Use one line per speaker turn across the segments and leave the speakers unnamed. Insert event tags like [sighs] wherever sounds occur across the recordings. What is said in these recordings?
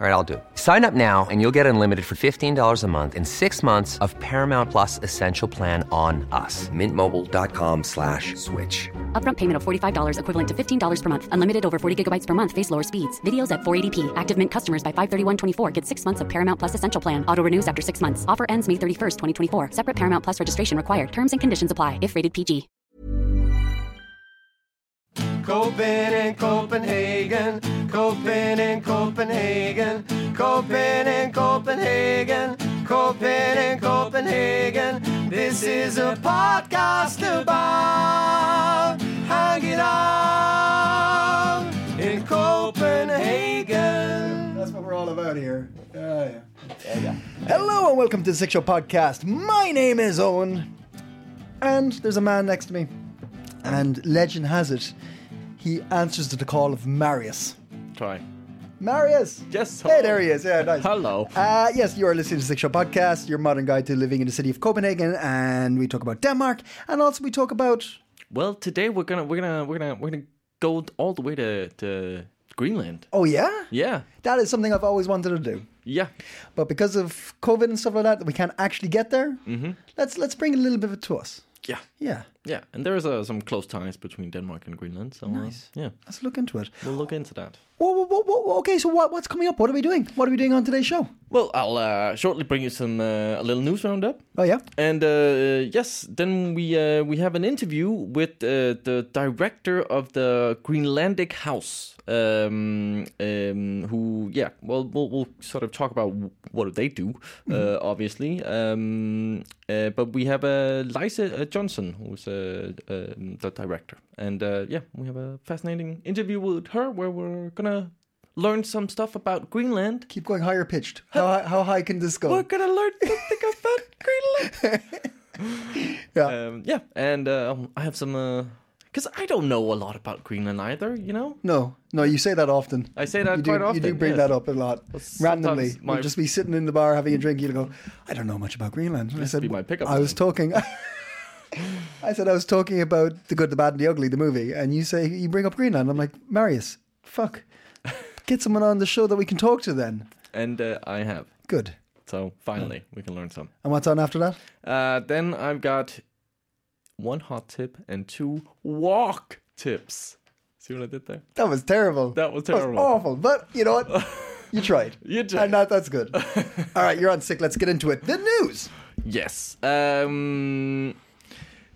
All right, I'll do. it. Sign up now and you'll get unlimited for $15 a month in six months of Paramount Plus Essential Plan on us. Mintmobile.com slash switch.
Upfront payment of $45 equivalent to $15 per month. Unlimited over 40 gigabytes per month. Face lower speeds. Videos at 480p. Active Mint customers by 531.24 get six months of Paramount Plus Essential Plan. Auto renews after six months. Offer ends May 31st, 2024. Separate Paramount Plus registration required. Terms and conditions apply if rated PG.
Copen in Copenhagen, Copen in Copenhagen, Copen in Copenhagen, Copen in Copenhagen. This is a podcast about hanging out in Copenhagen.
That's what we're all about here. Yeah, yeah. Hello and welcome to the Six Show Podcast. My name is Owen, and there's a man next to me. And legend has it, he answers to the call of Marius.
Try.
Marius!
Yes,
Hey,
hello.
there he is. Yeah, nice.
Hello.
Uh, yes, you are listening to Six Show Podcast, your modern guide to living in the city of Copenhagen, and we talk about Denmark, and also we talk about
Well, today we're gonna we're gonna we're gonna we're gonna go all the way to to Greenland.
oh yeah,
Yeah,
that is something I've always wanted to do.
yeah.
But because of COVID and stuff like that, we can't actually get there. Mm-hmm. Let's let's bring a little bit of it to us.
Yeah.
Yeah,
Yeah, and there is uh, some close ties between Denmark and Greenland. So nice. yeah,
let's look into it.
we'll look into that.
Whoa, whoa, whoa, whoa, whoa, okay, so what, what's coming up? What are we doing? What are we doing on today's show?
Well, I'll uh, shortly bring you some uh, a little news roundup,
Oh yeah,
and uh, yes, then we uh, we have an interview with uh, the director of the Greenlandic House, um, um, who yeah, well, we'll we'll sort of talk about what they do, uh, obviously. Um, uh, but we have uh, Lisa uh, Johnson, who's uh, um the director, and uh, yeah, we have a fascinating interview with her where we're gonna learn some stuff about Greenland.
keep going higher pitched. How hi- how high can this go?
We're gonna learn
[laughs]
something about Greenland
yeah,
um, yeah, and uh, I have some because I don't know a lot about Greenland either. You know,
no, no, you say that often.
I say that
you do,
quite
You do
often,
bring
yes.
that up a lot
sometimes
randomly.
my-
You'll just be sitting in the bar having a drink. You'll go, I don't know much about Greenland. And I said,
be my pickup
I was talking. [laughs] I said I was talking about the good, the bad, and the ugly, the movie, and you say you bring up Greenland. I'm like Marius,
[laughs]
fuck, get someone on the show that we can talk to. Then
and uh, I have.
good.
So finally,
Hmm.
we can learn some.
And what's on after that?
Uh, then I've got one hot tip and two walk tips. See what I did there?
That was terrible.
That was terrible.
awful. But you know what?
[laughs]
You tried.
You tried.
And that, that's
[laughs]
good. All right, you're on sick. Let's get into it. The news.
Yes. Um,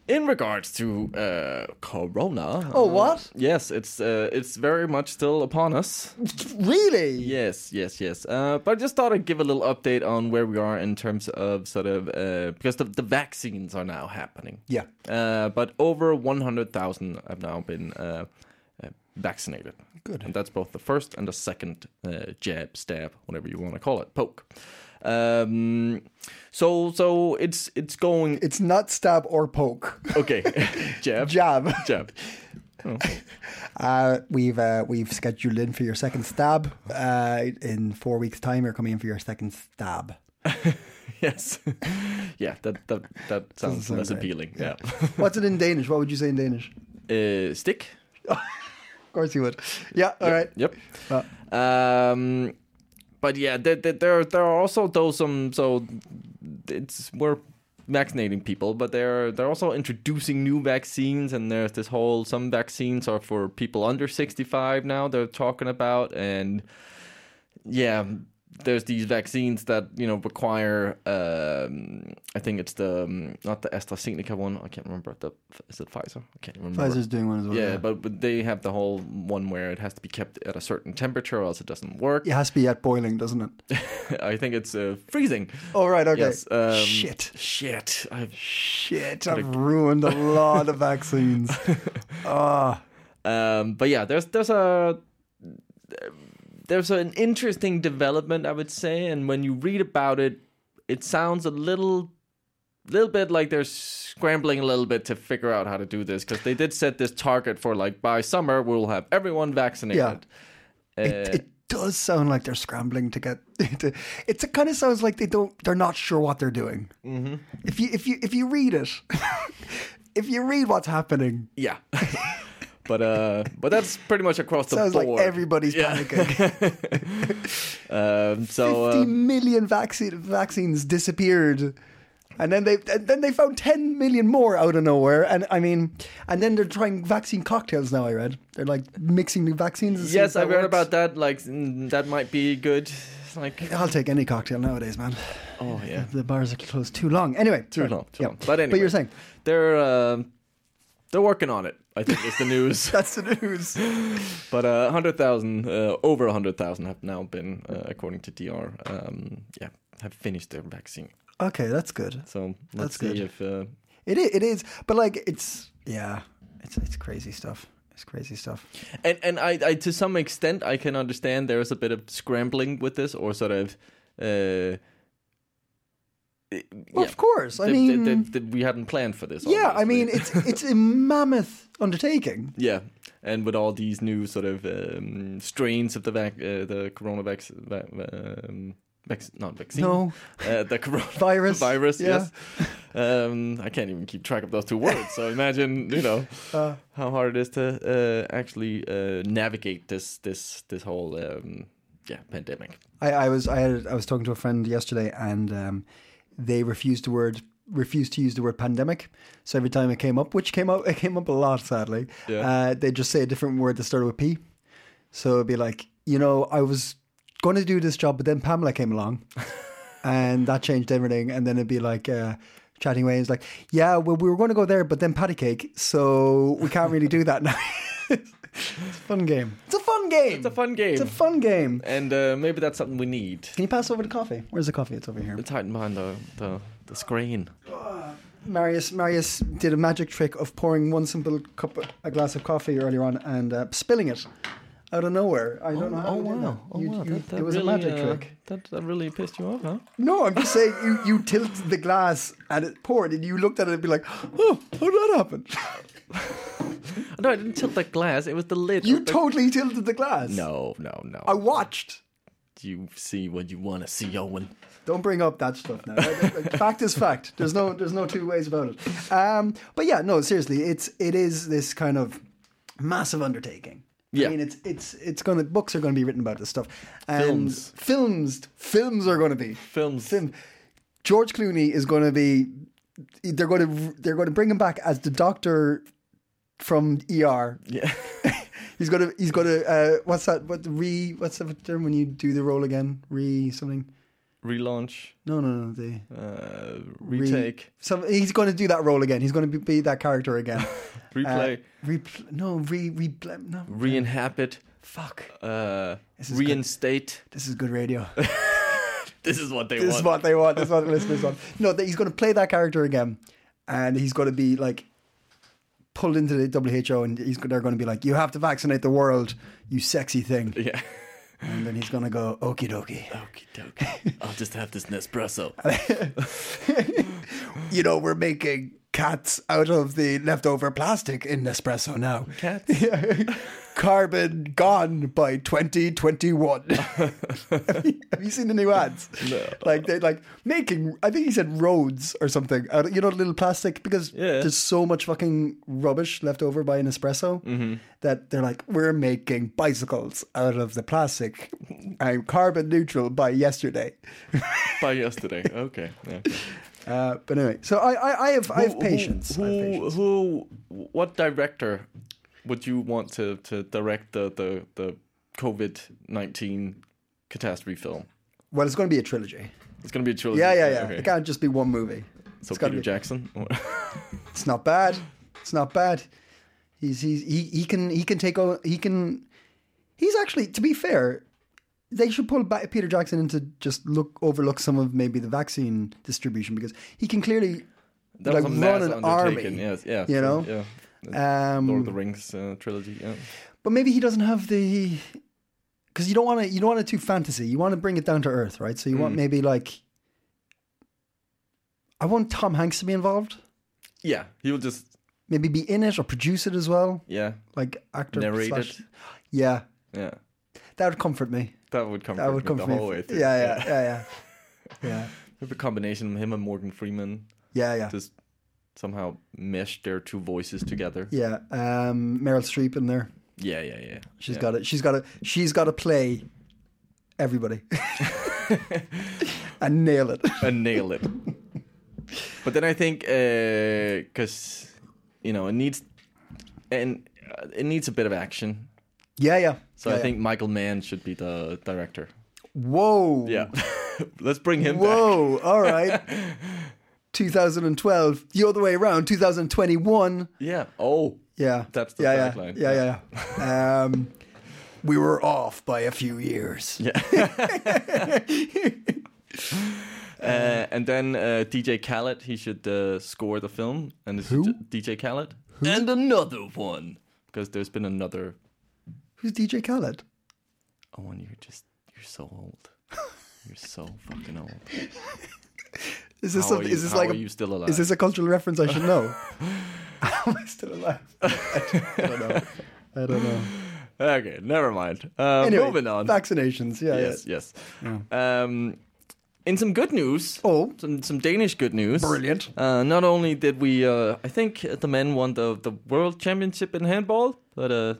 in regards to uh, Corona.
Oh, what?
Yes, it's uh, it's very much still upon us.
Really?
Yes, yes, yes. Uh, but I just thought I'd give a little update on where we are in terms of sort of uh, because the, the vaccines are now happening.
Yeah.
Uh, but over 100,000 have now been uh, uh, vaccinated. Good. And that's both the first and the second uh, jab, stab, whatever you want to call it, poke. Um, so so it's it's going
It's not stab or poke. [laughs]
okay. jab,
Jab.
jab.
Uh, we've uh, we've scheduled in for your second stab. Uh, in four weeks' time, you're coming in for your second stab.
Yes. [laughs] yeah. That that that sounds
sound
less
great.
appealing. Yeah.
What's it in Danish? What would you say in Danish?
uh, stick.
Of course you would. Yeah. All right.
Yep.
Uh,
Um, but yeah, there, there- there there are also those some so it's we're vaccinating people, but they're they're also introducing new vaccines, and there's this whole some vaccines are for people under sixty five now. They're talking about and yeah. There's these vaccines that you know require. Um, I think it's the um, not the AstraZeneca one. I can't remember. The is it Pfizer? I can't remember.
Pfizer's doing one as well.
Yeah, but, but they have the whole one where it has to be kept at a certain temperature or else it doesn't work.
it has to be at boiling, doesn't it?
[laughs] I think it's uh, freezing.
All right. Okay.
Yes, um,
Oh, Shit.
Shit. I've,
Shit. I've ruined
[laughs]
a lot of vaccines. Ah.
um, but yeah, there's there's a there's an interesting development, I would say, and when you read about it, it sounds a little little bit like they're scrambling a little bit to figure out how to do this because they did set this target for like by summer we'll have everyone vaccinated.
Yeah. it, it does sound like they're scrambling to get. [laughs] To, it's- it kind of sounds like they don't. They're not sure what they're doing. Mm-hmm. If you if you if you read it, [laughs] if you read what's happening,
Yeah. [laughs] but uh but that's pretty much across the
sounds
board.
like everybody's
[laughs]
panicking.
Um so
Fifty
uh,
million vaccine vaccines disappeared. And then they and then they found 10 million more out of nowhere and I mean and then they're trying vaccine cocktails now I read they're like mixing new vaccines and seeing
yes,
if that
I've heard
works.
about that like mm, that might be good. It's Like
I'll take any cocktail nowadays man
oh yeah.
the bars are closed too long anyway
Too
sorry.
long, too
Yeah.
long. But anyway.
but you're saying
They're um they're working on it. I think is the news.
[laughs]
[laughs]
That's the news.
But uh, 100,000, uh, over 100,000 have now been, uh, according to DR, um, yeah, have finished their vaccine.
Okay, that's good.
So
That's
let's
good.
see if. Uh,
It is, it is, but like it's yeah, it's it's crazy stuff. It's crazy stuff.
and and I, I, to some extent, I can understand there is a bit of scrambling with this, or sort of. Uh, eh,
Well,
yeah.
Of course, I
That-
mean,
that- that- that we hadn't planned for this.
yeah, I
obviously.
mean it's it's a mammoth undertaking.
[laughs] Yeah, and with all these new sort of um, strains of the vac- uh, the corona vac- va- um, vac- not vaccine,
No.
uh, the corona
[laughs] Virus,
[laughs] virus.
yeah.
Yes, um, I can't even keep track of those two words. So imagine, you know,
Uh,
how hard it is to uh, actually uh, navigate this this this whole um, yeah pandemic.
I, I was I had I was talking to a friend yesterday, and um, they refused the word refused to use the word pandemic. So every time it came up, which came up [laughs] it came up a lot, sadly.
Yeah.
Uh, they just say a different word that started with P. So it'd be like, you know, I was going to do this job, but then Pamela came [laughs] along, and that changed everything. And then it'd be like. Uh, Chatting away, and it's like, yeah, well, we were going to go there, but then patty cake, so we can't really do that now. [laughs] it's a fun game. It's a fun game.
It's a fun game,
It's a fun game.
and uh, maybe that's something we need.
Can you pass over the coffee? Where's the coffee? It's over here.
It's hiding behind the the, the screen.
Marius Marius did a magic trick of pouring one simple cup, a glass of coffee earlier on, and uh, spilling it out of nowhere. I don't know. How
Oh
he did
wow!
that.
Oh
You-
wow!
you-
that, that
it was
really,
a magic
uh,
trick.
That, that really pissed you off, huh?
No, I'm just saying you you tilt the glass and it poured, and you looked at it and be like, oh, how did that
[laughs]
happen?
No, I didn't tilt the glass. It was the lid.
you
of the-
totally tilted the glass.
[laughs] No, no, no.
I watched.
you see what you want to see, Owen.
Don't bring up that stuff now. fact is fact. There's no there's no two ways about it. Um, but yeah, no, seriously, it's it is this kind of massive undertaking. I
Yeah.
mean, it's it's it's gonna books are gonna be written about this stuff. And
Films.
films, films are gonna be
Films.
Film. George Clooney is gonna be. They're gonna they're gonna bring him back as the doctor from ER.
Yeah.
[laughs] He's gonna he's gonna uh, what's that? What re? What's the term when you do the role again? Re something?
[laughs] Relaunch,
No, no, no. The
uh,
re-
retake,
Some, he's going to do that role again. He's going to be, be that character again.
replay,
Uh, repl- no, re, re, blem- no.
re-inhabit,
Fuck.
uh,
This is good.
reinstate.
This is good radio.
This is what they
this is
want.
what they want. This is what the listeners want. No, that he's going to play that character again, and he's going to be like pulled into the WHO, and he's they're going to be like, "You have to vaccinate the world, you sexy thing,"
Yeah.
and then he's going to go, "Okie dokie."
Okie dokie. I'll just have this
[laughs]
Nespresso.
You know, we're making cats out of the leftover plastic in Nespresso now.
Cats?
[laughs] Carbon gone by
[laughs]
2021. have, you, have you seen the new ads? No. Like they like making. I think he said roads or something. Out of- You know, little plastic because
Yeah.
there's so much fucking rubbish left over by an espresso
Mm-hmm.
that they're like, we're making bicycles out of the plastic. I'm carbon neutral by yesterday. [laughs]
By yesterday. Okay. Yeah.
Uh, but anyway, so I, I, I have, I have patience.
Who,
I have patience.
who, what director would you want to, to direct the, the, the COVID 19 catastrophe film?
Well, it's going to be a trilogy.
It's going to be a trilogy.
Yeah, yeah, yeah.
okay.
It can't just be one movie.
So
it's gotta
Peter
be-
Jackson? [laughs]
It's not bad. It's not bad. He's he's he, he can he can take over. He can. He's actually, to be fair, they should pull back Peter Jackson into just look overlook some of maybe the vaccine distribution because he can clearly
That
like
was a mass
run an army.
undertaking. Yes, yeah.
you
so,
know?
Yeah.
Um,
Lord of the Rings uh, trilogy. Yeah.
But maybe he doesn't have the because you don't want to you don't want it too fantasy. You want to bring it down to earth, right? So you
Mm.
want maybe like I want Tom Hanks to be involved.
Yeah. He'll just,
Maybe be in it or produce it as well,
yeah,
like actor
narrate
slash-
it.
Yeah,
Yeah.
That would comfort me.
That would comfort
That would
me
comfort
the
me.
whole way through.
Yeah, yeah, yeah, yeah, yeah,
[laughs] Maybe a combination of him and Morgan Freeman
yeah, yeah.
just somehow meshed their two voices together.
Yeah, um, Meryl Streep in there.
Yeah, yeah, yeah.
She's
yeah.
got it. She's got to. She's got to play everybody
[laughs]
[laughs] and nail it.
and
[laughs]
nail it. but then I think because you know it needs and uh, it needs a bit of action.
Yeah, yeah.
So
Yeah,
I
yeah.
think Michael Mann should be the director.
Whoa.
Yeah, [laughs] let's bring him [laughs] back.
Whoa. All right.
[laughs]
2012. The other way around. 2021.
Yeah. Oh.
Yeah.
That's the
yeah, yeah.
tagline.
Yeah, yeah, yeah. um, we were off by a few years. Yeah.
[laughs]
[laughs]
Uh, and then uh, DJ Khaled, he should uh, score the film. And this Who? DJ Khaled. And another one. Because there's been another.
Who's DJ Khaled?
Oh, and you're just you're so old. You're so fucking old.
Is this
How
a,
are you-
is this
how
like
are
a,
you still alive?
Is this a cultural reference I should
[laughs]
know? Am I still alive? I don't know. I don't know.
Okay, never mind. Uh,
Anyway,
moving on.
Vaccinations. Yeah.
yes,
yeah.
yes. Um, in some good news,
Oh.
some, some Danish good news.
Brilliant.
Uh, not only did we, uh, I think the men won the, the world championship in handball, but uh,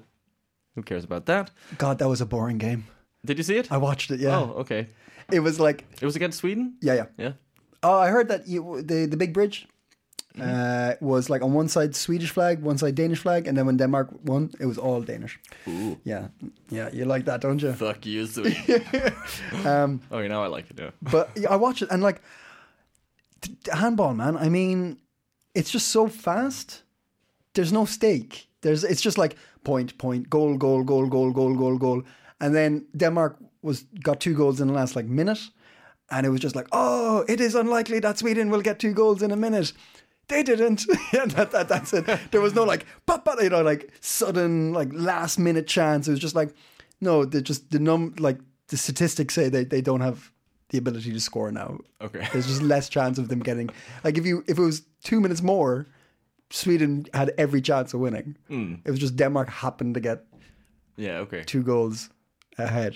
who cares about that?
God, that was a boring game.
Did you see it?
I watched it. Yeah.
Oh, okay.
It was like
It was against Sweden.
yeah, yeah.
Yeah.
Oh, I heard that you, the the big bridge uh, was like on one side Swedish flag, one side Danish flag, and then when Denmark won, it was all Danish.
Ooh.
Yeah, yeah, you like that, don't you?
Fuck you, Sweden. um, [laughs] okay, now I like it. Yeah.
But yeah, I watch it and like t- t- handball, man. I mean, it's just so fast. There's no stake. There's it's just like point, point, goal, goal, goal, goal, goal, goal, goal, and then Denmark was got two goals in the last like minute, and it was just like, oh, it is unlikely that Sweden will get two goals in a minute. They didn't. [laughs] yeah, that, that, that's it. There was no like, but, but, you know, like sudden like last minute chance. It was just like, no, they just the num like the statistics say they, they don't have the ability to score now.
Okay.
There's just less chance of them getting like if you if it was two minutes more, Sweden had every chance of winning.
Hmm.
It was just Denmark happened to get
Yeah. Okay.
two goals ahead.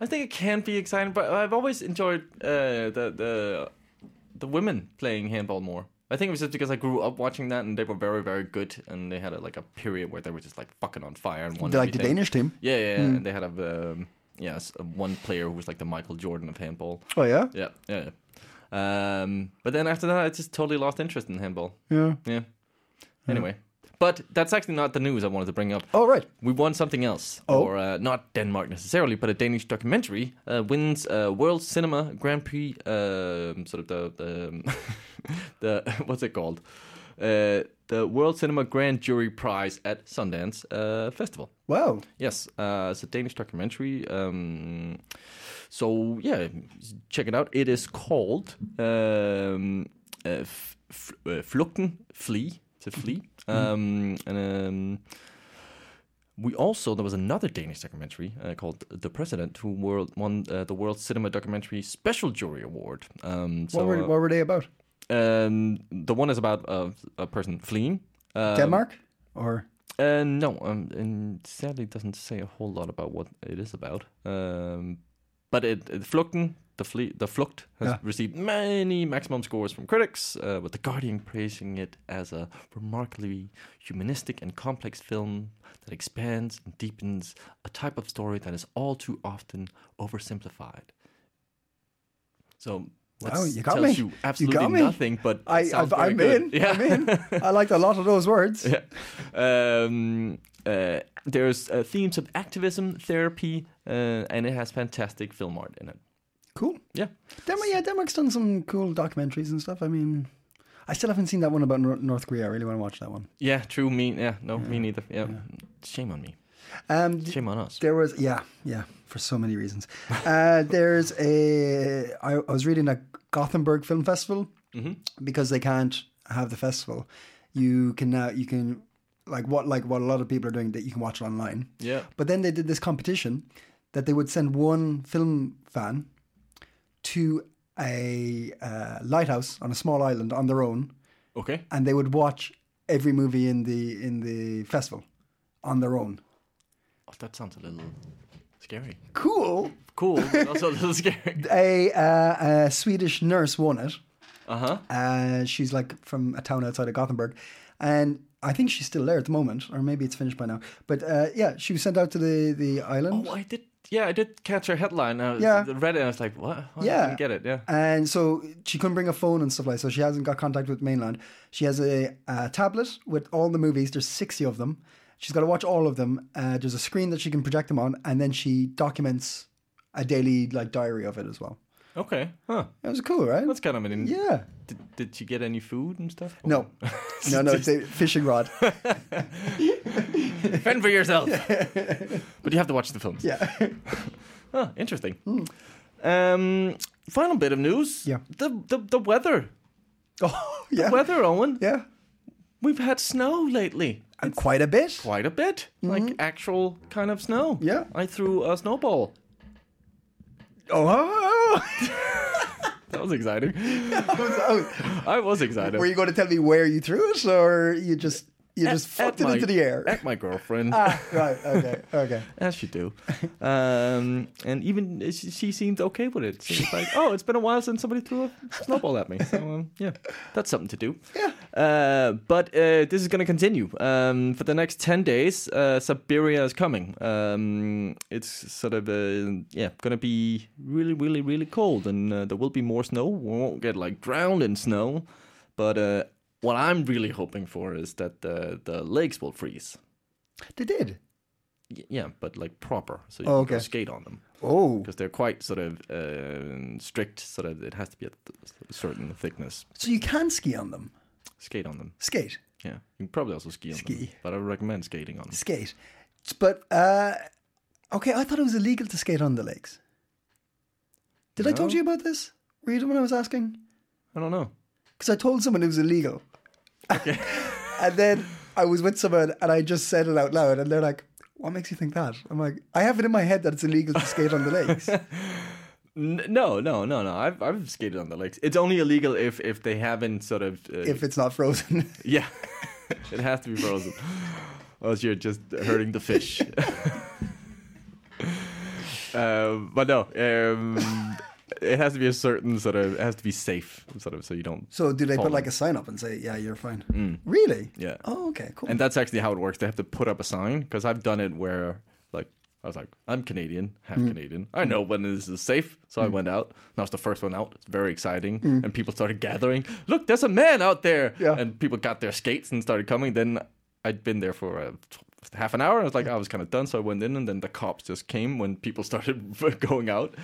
I think it can be exciting, but I've always enjoyed uh, the the the women playing handball more. I think it was just because I grew up watching that, and they were very, very good, and they had a, like a period where they were just like fucking on fire and won.
They're like the
everything.
Danish Hmm. team.
Yeah, yeah, yeah. and they had a um, yeah s- one player who was like the Michael Jordan of handball.
Oh yeah?
Yeah, yeah. yeah. Um, but then after that, I just totally lost interest in handball.
Yeah.
Yeah.
Hmm.
Anyway, but that's actually not the news I wanted to bring up.
Oh right.
We won something else,
Oh.
or uh, not Denmark necessarily, but a Danish documentary uh, wins uh, World Cinema Grand Prix. um sort of the the, um, [laughs] the [laughs] what's it called? Uh, the World Cinema Grand Jury Prize at Sundance uh, Festival.
Wow.
Yes, uh, it's a Danish documentary. Um, so yeah, check it out. It is called um, uh, f- f- uh, "Flugten," flee to flee. Um, and um, we also there was another Danish documentary uh, called "The President," who world, won uh, the World Cinema Documentary Special Jury Award. Um, so
what were
uh,
what were they about?
um, the one is about uh, a person fleeing. Um,
Denmark? Or
uh, no, um, and sadly doesn't say a whole lot about what it is about. Um, but it, it Flugten, the fle- the Flucht, has
Yeah.
received many maximum scores from critics, uh, with the Guardian praising it as a remarkably humanistic and complex film that expands and deepens a type of story that is all too often oversimplified. So. that
Wow, you got
tells
me.
You
You
absolutely
got me.
nothing, but it
I,
sounds
I
very
I'm
good.
in.
[laughs] Yeah.
I'm in. I liked a lot of those words.
[laughs] Yeah. Um, uh, there's uh, themes of activism, therapy, uh, and it has fantastic film art in it.
Cool.
Yeah.
Denmark, yeah, Denmark's done some cool documentaries and stuff. I mean, I still haven't seen that one about Nor- North Korea. I really want to watch that one.
Yeah, true. Me, yeah, no, me neither. Yeah. Shame on me.
Um, d-
Shame on us.
there was, yeah, yeah, for so many reasons. Uh, there's a, I, I was reading that Gothenburg Film Festival because they can't have the festival. You can now, you can, like what, like what a lot of people are doing that you can watch it online.
Yeah.
But then they did this competition that they would send one film fan to a uh, lighthouse on a small island on their own,
Okay.
and they would watch every movie in the in the festival on their own.
Oh, that sounds a little Scary.
Cool.
Cool. but also a
[laughs]
little scary.
A, uh, a Swedish nurse won it.
Uh huh.
Uh, she's like from a town outside of Gothenburg, and I think she's still there at the moment, or maybe it's finished by now. But uh, yeah, she was sent out to the the island.
Oh, I did. Yeah, I did catch her headline. I was-
Yeah.
read it and I was like, what? What?
Yeah.
I didn't get it. Yeah.
And so she couldn't bring a phone and stuff like so she hasn't got contact with mainland. She has a, uh tablet with all the movies. There's 60 of them. She's got to watch all of them. Uh, there's a screen that she can project them on and then she documents a daily like diary of it as well.
Okay. Huh.
That was cool, right?
That's kind of an.
yeah.
Did, did you get any food and stuff?
No.
[laughs]
no, no, it's a fishing rod.
Fend for
[laughs]
yourself. but you have to watch the film.
Yeah.
Huh, interesting. Um, final bit of news.
Hmm. Yeah.
The the, the weather.
[laughs] oh, yeah. [laughs]
Weather, Owen.
Yeah.
We've had snow lately.
And quite a bit.
Quite a bit. Like actual kind of snow.
Mm-hmm. Yeah.
I threw a snowball.
Oh, [laughs]
That was exciting.
[laughs] oh.
I was excited.
were you going to tell me where you threw it or you just you just
At
flipped it
my-
into the air?
At my girlfriend.
[laughs] Ah, right. Okay. Okay.
As you do. Um, and even she, she seemed okay with it. She was like, oh, it's been a while since somebody threw a snowball at me. So, um, yeah, that's something to do.
Yeah.
Uh, but uh, this is going to continue. Um, for the next 10 days, uh, Siberia is coming. Um, it's sort of, uh, yeah, going to be really, really, really cold. And uh, there will be more snow. We won't get like drowned in snow. But uh, what I'm really hoping for is that the, the lakes will freeze.
They did.
Y- Yeah, but like proper, so you
Oh,
can go
okay.
skate on them
Oh,
because they're quite sort of um, strict. Sort of, it has to be at a certain thickness.
so you can ski on them.
Skate on them.
Skate,
Yeah, you can probably also ski on them,
Ski.
but I would recommend skating on them.
skate. But uh, okay, I thought it was illegal to skate on the lakes. Did I told
No.
you about this? Were you the one I was asking?
I don't know.
Because I told someone it was illegal. [laughs] and then I was with someone and I just said it out loud, and they're like, "What makes you think that?" I'm like, "I have it in my head that it's illegal to skate on the
[laughs]
lakes."
N- no, no, no, no. I've I've skated on the lakes. It's only illegal if if they haven't sort of uh,
if it's not frozen, [laughs]
yeah, [laughs] it has to be frozen, or else you're just hurting the fish. [laughs] um, but no, um, it has to be a certain sort of. It has to be safe, sort of, so you don't.
so do they
fall
put
in.
like a sign up and say, "Yeah, you're fine"? Really?
Mm. Yeah.
Oh, okay, cool.
And that's actually how it works. They have to put up a sign because I've done it where, like, I was like, I'm Canadian, half
Mm.
Canadian. I know when this is safe. So I went out. And I was the first one out. It's very exciting. And people started gathering. Look, there's a man out there.
Mm. Yeah.
And people got their skates and started coming. Then I'd been there for uh, t- half an hour. I was like, I was kind of done. So I went in. And then the cops just came when people [laughs] started going out.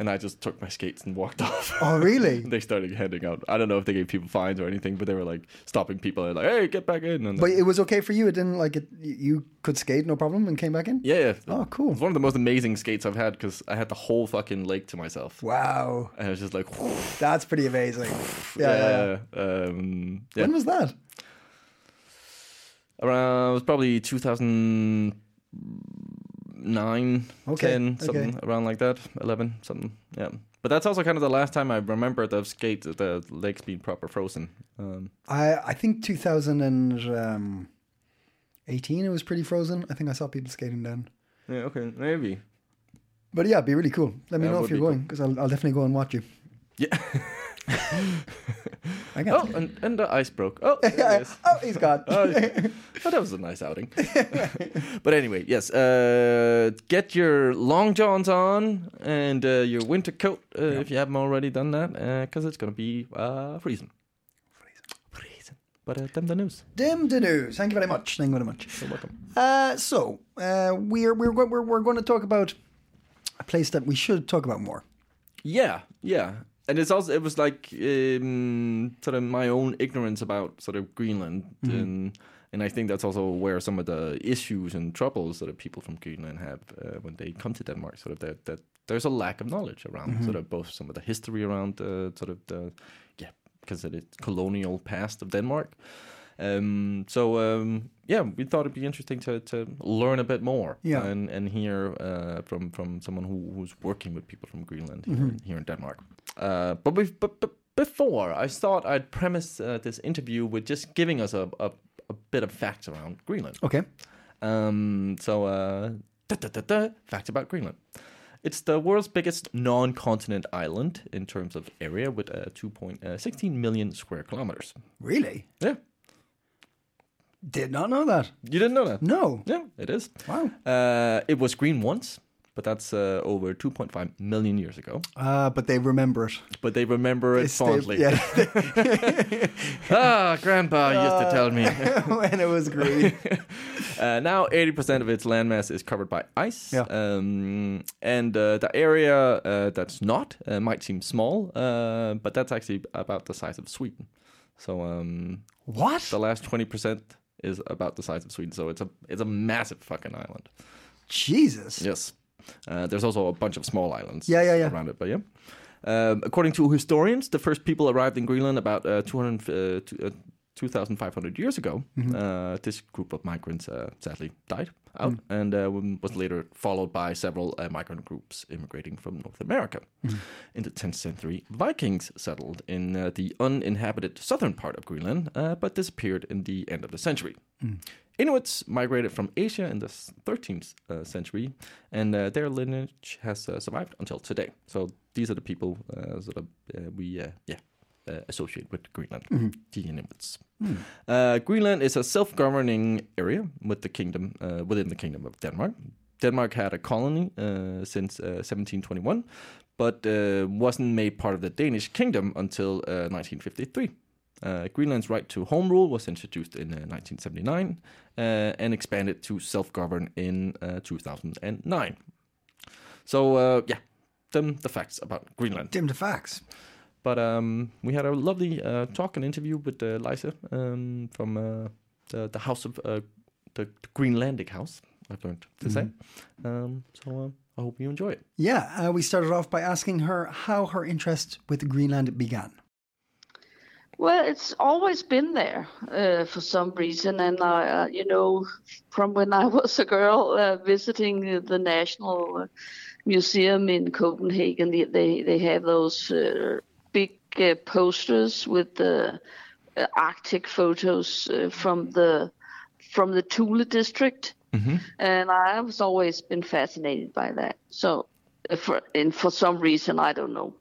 And I just took my skates and walked [laughs] off.
[laughs] oh,
[laughs]
really?
They started handing out. I don't know if they gave people fines or anything, but they were like stopping people and like, "Hey, get back in!" And
But it was okay for you. It didn't like it. You could skate, no problem, and came back in.
Yeah, yeah.
Oh, cool.
It's one of the most amazing skates I've had because I had the whole fucking lake to myself.
Wow,
And I was just like, [laughs]
that's pretty amazing. Yeah. yeah, yeah.
yeah. Um, yeah.
When was that?
Around, it was probably 2009,
Okay,
10,
okay.
something around like that, 11, something. Yeah. But that's also kind of the last time I remember the skate, the lakes being proper frozen. Um,
I I think 2018. um, It was pretty frozen. I think I saw people skating then.
yeah, okay, maybe.
But yeah, it'd be really cool. Let me know
That would
if you're
be
going because I'll, I'll definitely go and watch you.
Yeah.
[laughs] I got.
oh, and, and the ice broke. Oh,
[laughs]
there it is.
oh, he's gone.
Oh, oh, that was a nice outing. [laughs] but anyway, yes, uh, get your long johns on and uh, your winter coat uh, if you haven't already done that, because it's going to be uh, freezing. Freezing. Freezing. But uh, them the news.
[laughs] Dim the news. Thank you very much. Thank you very much.
You're welcome.
Uh, so uh, we're we're go- we're we're going to talk about a place that we should talk about more.
Yeah, yeah. And it's also it was like um, sort of my own ignorance about sort of Greenland, and and I think that's also where some of the issues and troubles that the people from Greenland have uh, when they come to Denmark. Sort of that that there's a lack of knowledge around sort of both some of the history around uh, sort of the yeah because of the colonial past of Denmark. Um, so um, yeah, we thought it'd be interesting to, to learn a bit more
Yeah.
and and hear uh, from from someone who, who's working with people from Greenland here,
Mm-hmm.
here in Denmark. Uh, but we've but, but before I thought I'd premise uh, this interview with just giving us a, a a bit of facts around Greenland.
Okay.
Um, so uh, Da, da, da, da, fact about Greenland. It's the world's biggest non continent island in terms of area with uh, 2.16 million square kilometers.
Really?
Yeah.
Did not know that.
You didn't know that?
No.
Yeah, it is.
Wow.
Uh, it was green once, but that's uh, over 2.5 million years ago.
Uh, but they remember it.
But they remember it
It's they- [laughs]
fondly.
yeah,
[laughs] ah, Grandpa used to
[laughs]
tell me.
when it was green.
Uh, now, 80% of its landmass is covered by ice.
Yeah.
Um, and uh, the area uh, that's not uh, might seem small, uh, but that's actually about the size of Sweden. So um,
what?
the last 20% is about the size of Sweden. So it's a it's a massive fucking island.
Jesus.
Yes. Uh, there's also a bunch of small islands
Yeah, yeah, yeah.
around it, but yeah. Um, according to historians, the first people arrived in Greenland about uh, 200, uh, two- uh, 2,500 years ago.
Mm-hmm.
Uh, this group of migrants uh, sadly died out
Mm.
and uh, w- was later followed by several uh, migrant groups immigrating from North America.
Mm-hmm.
In the 10th century, Vikings settled in uh, the uninhabited southern part of Greenland, uh, but disappeared in the end of the century.
Mm.
Inuits migrated from Asia in the s- 13th uh, century, and uh, their lineage has uh, survived until today. So these are the people uh, sort of uh, we uh, yeah uh, associate with Greenland, the Inuits. Uh, Greenland is a self-governing area with the kingdom uh, within the kingdom of Denmark. Denmark had a colony uh, since uh, 1721, but uh, wasn't made part of the Danish kingdom until uh, 1953. Uh, Greenland's right to home rule was introduced in uh, 1979 uh, and expanded to self govern in uh, 2009. So, uh, yeah, them the facts about Greenland.
Dim to facts.
But um, we had a lovely uh, talk and interview with uh, Lisa um, from uh, the, the House of uh, the, the Greenlandic House, I've learned to say. Um, so, uh, I hope you enjoy it.
Yeah, uh, we started off by asking her how her interest with Greenland began.
Well, it's always been there uh, for some reason, and I, uh, you know, from when I [laughs] was a girl uh, visiting the National Museum in Copenhagen, they they, they have those uh, big uh, posters with the uh, Arctic photos uh, from the from the Thule district, and I've always been fascinated by that. So, uh, for and for some reason, I don't know.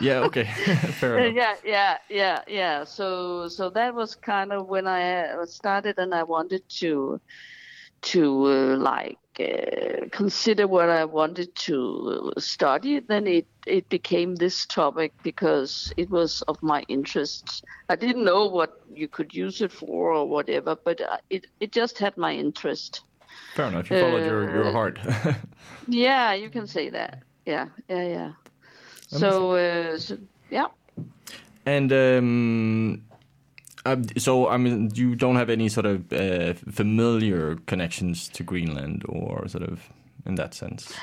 Yeah, okay. [laughs] Fair
Uh,
enough.
yeah, yeah, yeah, yeah. So, so that was kind of when I uh, started, and I wanted to, to uh, like uh, consider what I wanted to study. Then it it became this topic because it was of my interest. I didn't know what you could use it for or whatever, but uh, it it just had my interest.
Fair enough. You followed your,
Uh,
your heart. [laughs]
Yeah, you can say that. Yeah, yeah, yeah. So, uh, so yeah.
And um, um, so, I mean, you don't have any sort of uh, familiar connections to Greenland, or sort of in that sense.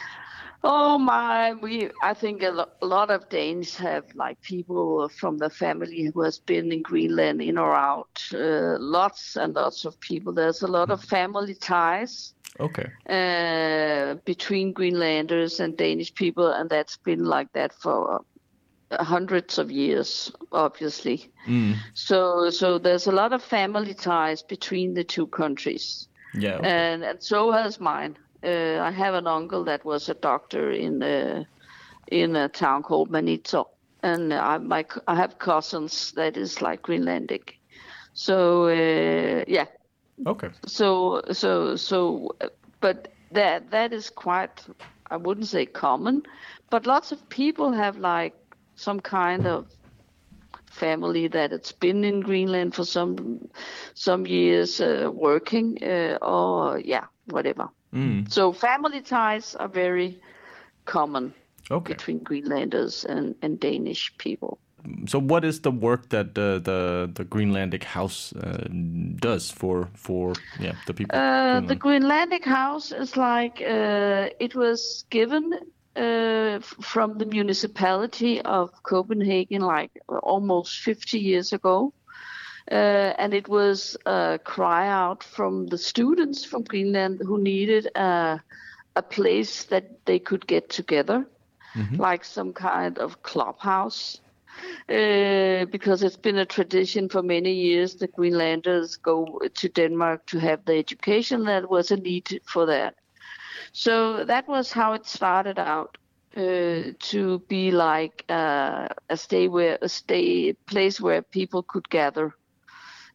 Oh my! We, I think a, lo- a lot of Danes have like people from the family who has been in Greenland in or out. Uh, lots and lots of people. There's a lot of family ties
Okay.
uh, between Greenlanders and Danish people, and that's been like that for uh, hundreds of years, obviously. So, so there's a lot of family ties between the two countries
Yeah. okay.
and and so has mine. Uh, I have an uncle that was a doctor in uh, in a town called Manito, and I my c- I have cousins that is like Greenlandic. So uh, yeah,
okay.
so so so, uh, but that that is quite I wouldn't say common, but lots of people have like some kind of family that it's been in Greenland for some some years uh, working uh, or yeah whatever. So family ties are very common
Okay.
between Greenlanders and, and Danish people.
So, what is the work that the the, the Greenlandic House uh, does for for yeah the people?
Uh,
in
the Greenlandic House is like uh, it was given uh, f- from the municipality of Copenhagen, like almost 50 years ago, uh, and it was a cry out from the students from Greenland who needed a, a place that they could get together, like some kind of clubhouse uh, because it's been a tradition for many years the Greenlanders go to Denmark to have the education. That was a need for that. So that was how it started out uh, to be like uh, a stay where a stay place where people could gather.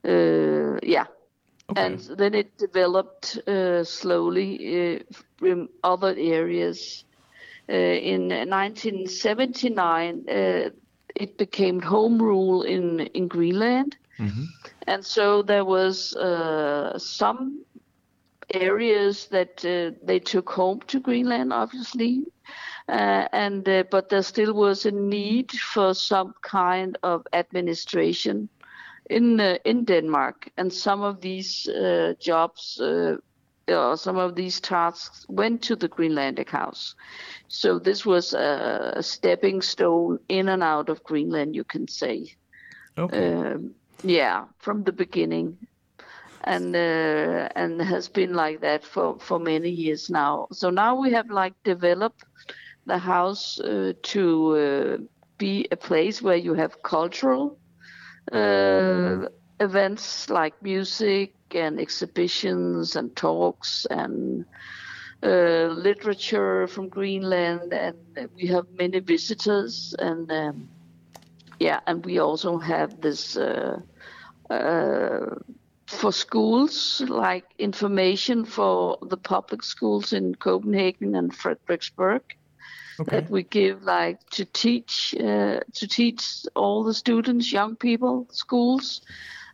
Uh, yeah. And then it developed uh, slowly uh, from other areas. Uh, in 1979, uh, it became home rule in, in Greenland. And so there was uh, some areas that uh, they took home to Greenland, obviously, uh, and uh, but there still was a need for some kind of administration in uh, in Denmark, and some of these uh, jobs. Uh, or some of these tasks went to the Greenlandic House. So this was a, a stepping stone in and out of Greenland, you can say.
Okay.
Um, yeah, from the beginning, and uh, and has been like that for for many years now. So now we have like developed the house uh, to uh, be a place where you have cultural uh, events like music and exhibitions and talks and uh, literature from Greenland, and we have many visitors and. Um, yeah, and we also have this uh, uh, for schools, like information for the public schools in Copenhagen and Frederiksberg that we give, like to teach uh, to teach all the students, young people, schools,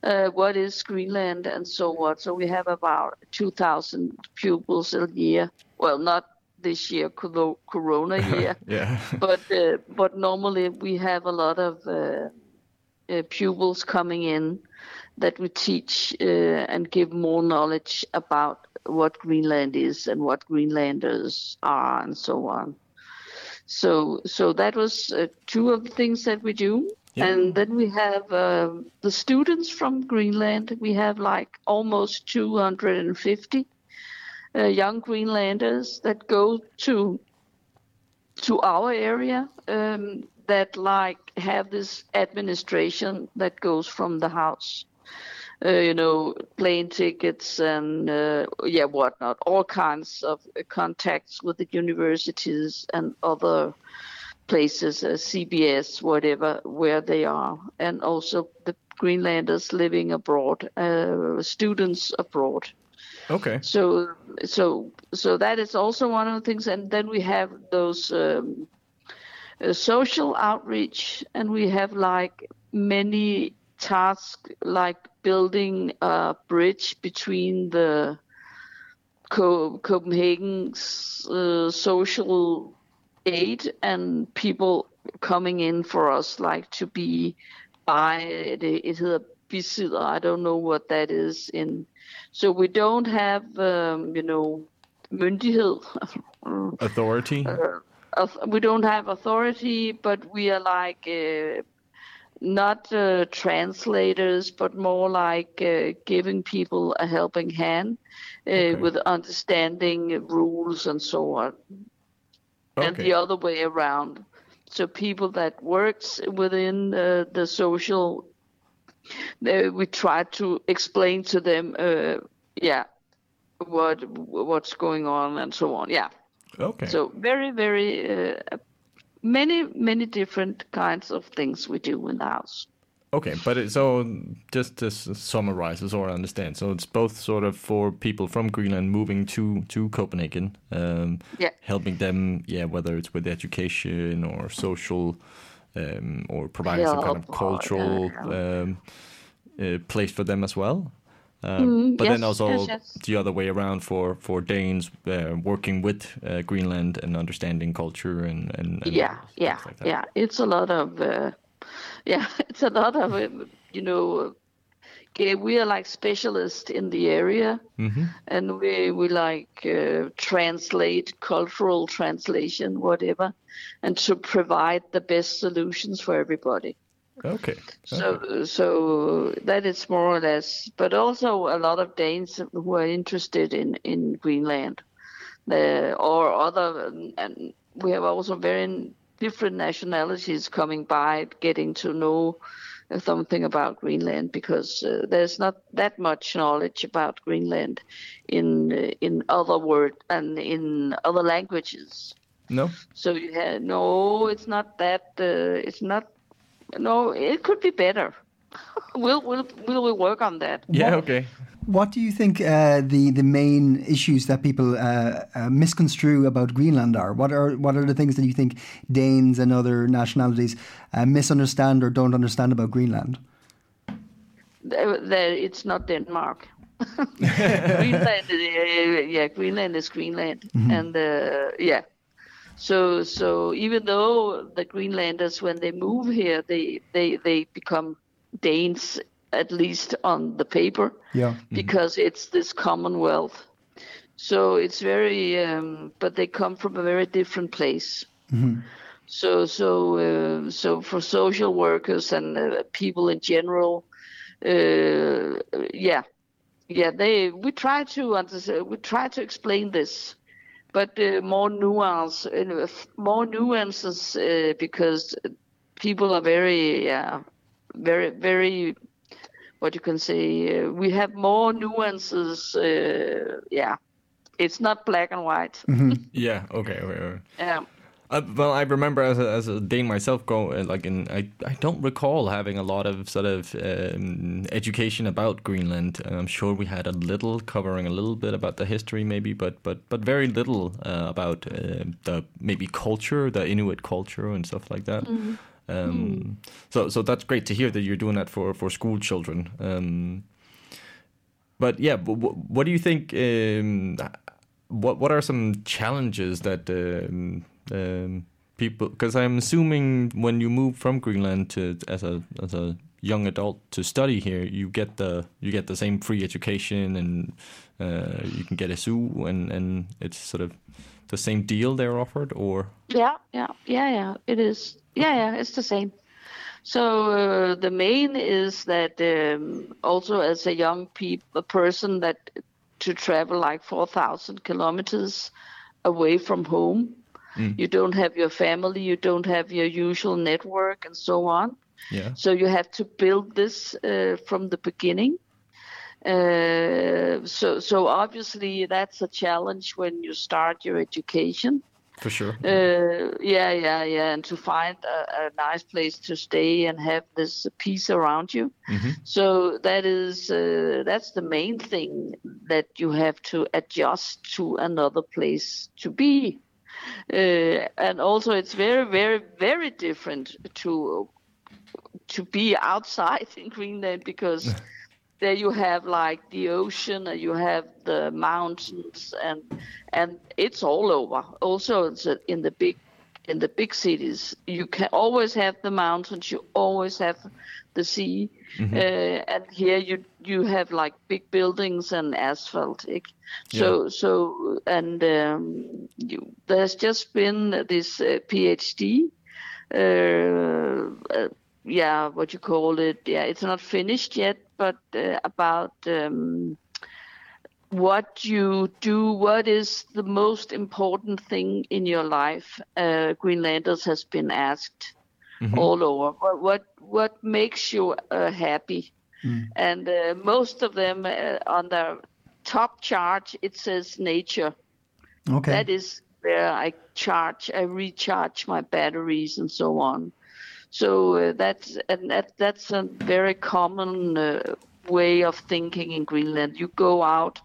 uh, what is Greenland and so on. So we have about 2,000 pupils a year. Well, not this year, coro- Corona year
yeah.
but uh, but normally we have a lot of uh, uh, pupils coming in that we teach uh, and give more knowledge about what Greenland is and what Greenlanders are and so on. So so that was uh, two of the things that we do. And then we have um the students from Greenland. We have like almost 250 uh, young Greenlanders that go to to our area um, that like have this administration that goes from the house. Uh, you know, plane tickets and uh, yeah, whatnot, all kinds of uh, contacts with the universities and other places, uh, CBS, whatever, where they are, and also the Greenlanders living abroad, uh, students abroad.
[laughs] Okay.
So, so, so that is also one of the things. And then we have those um, uh, social outreach, and we have like many tasks, like building a bridge between the Co- Copenhagen's uh, social aid and people coming in for us, like to be by it, it hedder bisidder. I don't know what that is in. So we don't have, um, you know, myndighed. uh,
Authority.
Auth- we don't have authority, but we are like uh, not uh, translators, but more like uh, giving people a helping hand uh, with understanding rules and so on and
Okay.
the other way around. So people that works within uh, the social, they, we try to explain to them, uh, yeah, what what's going on and so on. Yeah.
Okay.
So very very uh, many many different kinds of things we do in the house.
Okay, but it, so just to s- summarize, so I understand, so it's both sort of for people from Greenland moving to to Copenhagen, um,
Yeah.
helping them, yeah, whether it's with education or social, um, or providing some kind of
Help or,
cultural um, uh, place for them as well. Um, but then
Mm, yes,
also
yes, yes.
the other way around for for Danes uh, working with uh, Greenland and understanding culture and and, and
yeah yeah
like that.
yeah it's a lot of uh, [laughs] yeah it's a lot of um, you know okay, we are like specialists in the area
Mm-hmm.
and we we like uh, translate cultural translation whatever and to provide the best solutions for everybody
Okay.
so so that is more or less but also a lot of danes who are interested in in greenland uh, or other and we have also very different nationalities coming by getting to know something about Greenland because uh, there's not that much knowledge about Greenland in in other word and in other languages.
No.
So you have no, it's not that. Uh, it's not. No, it could be better. [laughs] we'll we'll we'll work on that.
Yeah. Okay.
What do you think uh, the the main issues that people uh, uh, misconstrue about Greenland are? What are what are the things that you think Danes and other nationalities uh, misunderstand or don't understand about Greenland?
There- there- it's not Denmark. [laughs] Greenland, uh, yeah, Greenland is Greenland, and uh, yeah. So, so even though the Greenlanders, when they move here, they they they become Danes at least on the paper,
Yeah.
because it's this Commonwealth. So it's very, um, but they come from a very different place. So, so, uh, so for social workers and uh, people in general, uh, yeah, yeah, they we try to understand, we try to explain this, but uh, more nuance, uh, f- more nuances uh, because people are very, yeah, very, very, what you can say. Uh, we have more nuances. Uh, yeah, it's not black and white. Um,
Yeah. Okay. Okay. okay.
Yeah.
Uh, well, I remember as a, as a Dane myself, go uh, like in I, I don't recall having a lot of sort of um, education about Greenland, and I'm sure we had a little covering a little bit about the history, maybe, but but but very little uh, about uh, the maybe culture, the Inuit culture, and stuff like that. Um, so so that's great to hear that you're doing that for for school children. Um, but yeah, wh- wh- what do you think? Um, what what are some challenges that um, um, people? Because I'm assuming when you move from Greenland to as a as a young adult to study here, you get the you get the same free education and uh, you can get a zoo and and it's sort of the same deal they're offered, or
Yeah, yeah, yeah, yeah. It is. Yeah, yeah. It's the same. So uh, the main is that um, also as a young peop a person that to travel like four thousand kilometers away from home, you don't have your family, you don't have your usual network, and so on.
yeah,
So you have to build this uh, from the beginning. Uh, so, so obviously that's a challenge when you start your education.
for sure,
Uh, yeah, yeah, yeah, and to find a, a nice place to stay and have this peace around you. So that is uh, that's the main thing that you have to adjust to another place to be, uh, and also it's very, very, very different to to be outside [laughs] in Greenland because there you have like the ocean and you have the mountains and and it's all over also it's uh, in the big in the big cities you can always have the mountains you always have the sea uh, and here you you have like big buildings and asphalt Ik- so so and um, you, there's just been this uh, phd uh, uh, yeah, what you call it. Yeah, it's not finished yet, but uh, about um, what you do, what is the most important thing in your life? Uh, Greenlanders has been asked all over. What what, what makes you uh, happy? And uh, most of them uh, on the top chart, it says nature.
Okay.
That is where I charge, I recharge my batteries and so on. So uh, that's and that, that's a very common uh, way of thinking in Greenland. You go out,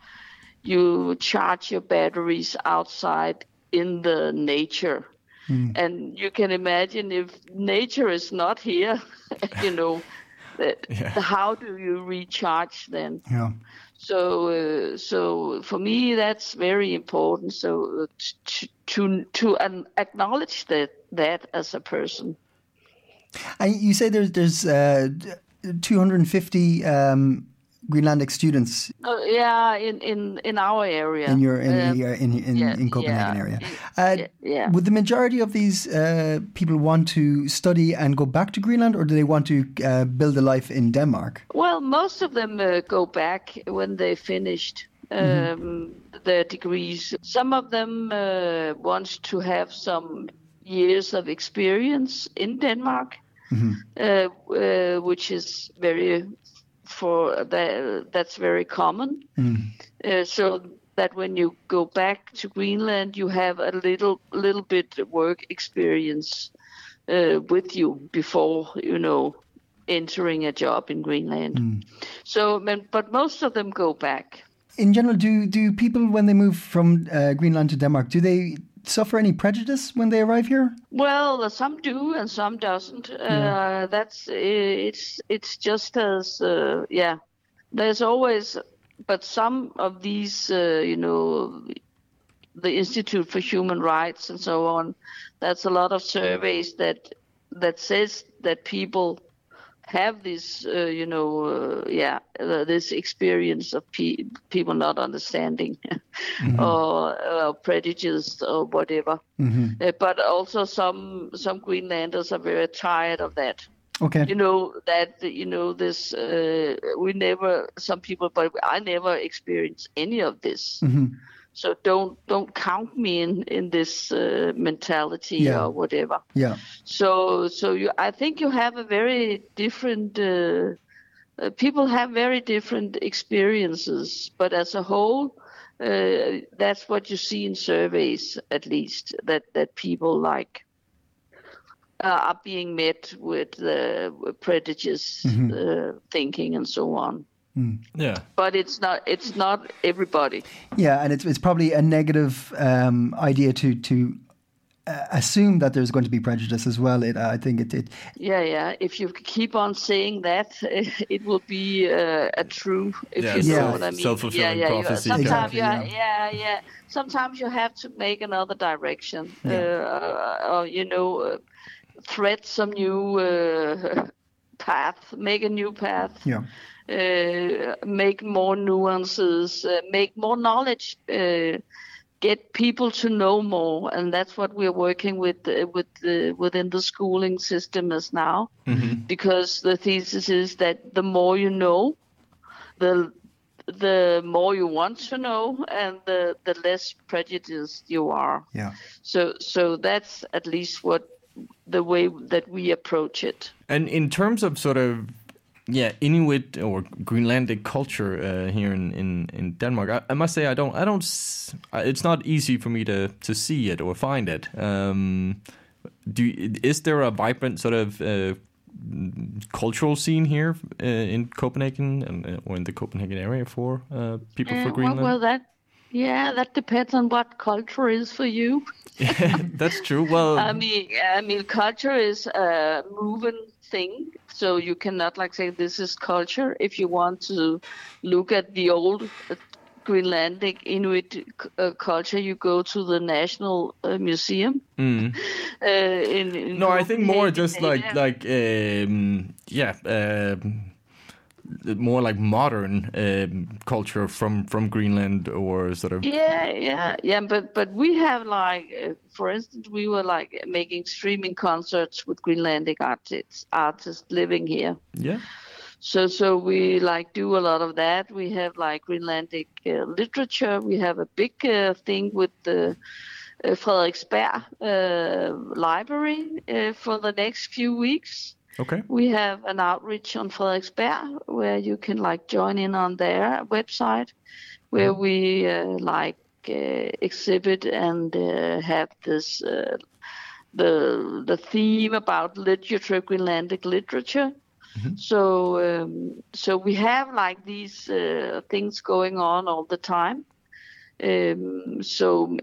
you charge your batteries outside in the nature. And you can imagine if nature is not here, [laughs] you know, that, how do you recharge then?
yeah.
So, uh, so for me, that's very important. So uh, to to to um, acknowledge that that as a person.
And you say there's there's uh, 250 um, Greenlandic students
Uh, yeah, in in in our area.
in your in
Um,
the, uh, in, in,
yeah,
in Copenhagen
yeah,
area.
y-
Uh,
yeah, yeah.
Would the majority of these uh, people want to study and go back to Greenland, or do they want to uh, build a life in Denmark?
Well, most of them uh, go back when they finished um, their degrees. Some of them uh, want to have some years of experience in Denmark. uh, uh, which is very for that that's very common. Uh, so that when you go back to Greenland, you have a little little bit work experience uh, with you before you know entering a job in Greenland. So, man- but most of them go back.
In general, do do people when they move from uh, Greenland to Denmark, do they suffer any prejudice when they arrive here?
Well, some do and some doesn't. Uh, that's it's it's just as uh, yeah. There's always, but some of these, uh, you know, the Institute for Human Rights and so on. That's a lot of surveys that that says that people have this, uh, you know, uh, yeah, uh, this experience of pe- people not understanding [laughs] or uh, prejudice or whatever. Uh, but also some some Greenlanders are very tired of that.
Okay.
You know that you know this. Uh, we never some people, but I never experienced any of this. So don't don't count me in in this uh, mentality
Yeah.
or whatever.
yeah.
So, so you, I think you have a very different. Uh, uh, people have very different experiences, but as a whole, uh, that's what you see in surveys, at least that that people like uh, are being met with uh, prejudice uh, thinking and so on.
Yeah.
But it's not it's not everybody.
Yeah, and it's it's probably a negative um, idea to to uh, assume that there's going to be prejudice as well. It, I think it, it
Yeah, yeah. If you keep on saying that, [laughs] it will be uh, a true. If
Yeah,
you know
self-
what I mean.
self-fulfilling
yeah, yeah, you-
prophecy.
Sometimes
Exactly,
you ha-
yeah.
yeah. yeah, Sometimes you have to make another direction, uh, or you know, uh, thread some new uh, [laughs] path, make a new path,
yeah
uh, make more nuances, uh, make more knowledge. Uh, Get people to know more, and that's what we're working with uh, with the, within the schooling system as now because the thesis is that the more you know, the the more you want to know, and the the less prejudiced you are.
yeah
So so that's at least what the way that we approach it.
And in terms of sort of yeah Inuit or Greenlandic culture uh, here in, in, in Denmark, I, I must say I don't I don't s- I- it's not easy for me to, to see it or find it. Um, do is there a vibrant sort of uh, cultural scene here uh, in Copenhagen and, uh, or in the Copenhagen area for uh, people for
Uh, well,
Greenland?
well, that yeah, that depends on what culture is for you.
That's true.
[laughs]
Well,
I mean, I mean, culture is a moving thing, so you cannot like say this is culture. If you want to look at the old uh, Greenlandic Inuit c- uh, culture, you go to the National uh, Museum. [laughs] Uh, in, in
Mm-hmm. No, I think more
Copenhagen.
just like
Yeah.
like um, yeah, um, more like modern um, culture from from Greenland or sort of
Yeah, yeah, yeah. But but we have like, uh, for instance, we were like making streaming concerts with Greenlandic artists artists living here.
yeah.
So, so we like do a lot of that. We have like Greenlandic uh, literature. We have a big uh, thing with the uh, Frederiksberg uh, Library uh, for the next few weeks.
Okay.
We have an outreach on Frederiksberg where you can like join in on their website, where we uh, like uh, exhibit and uh, have this uh, the the theme about literature, Greenlandic literature. So um, so we have like these uh, things going on all the time. Um, so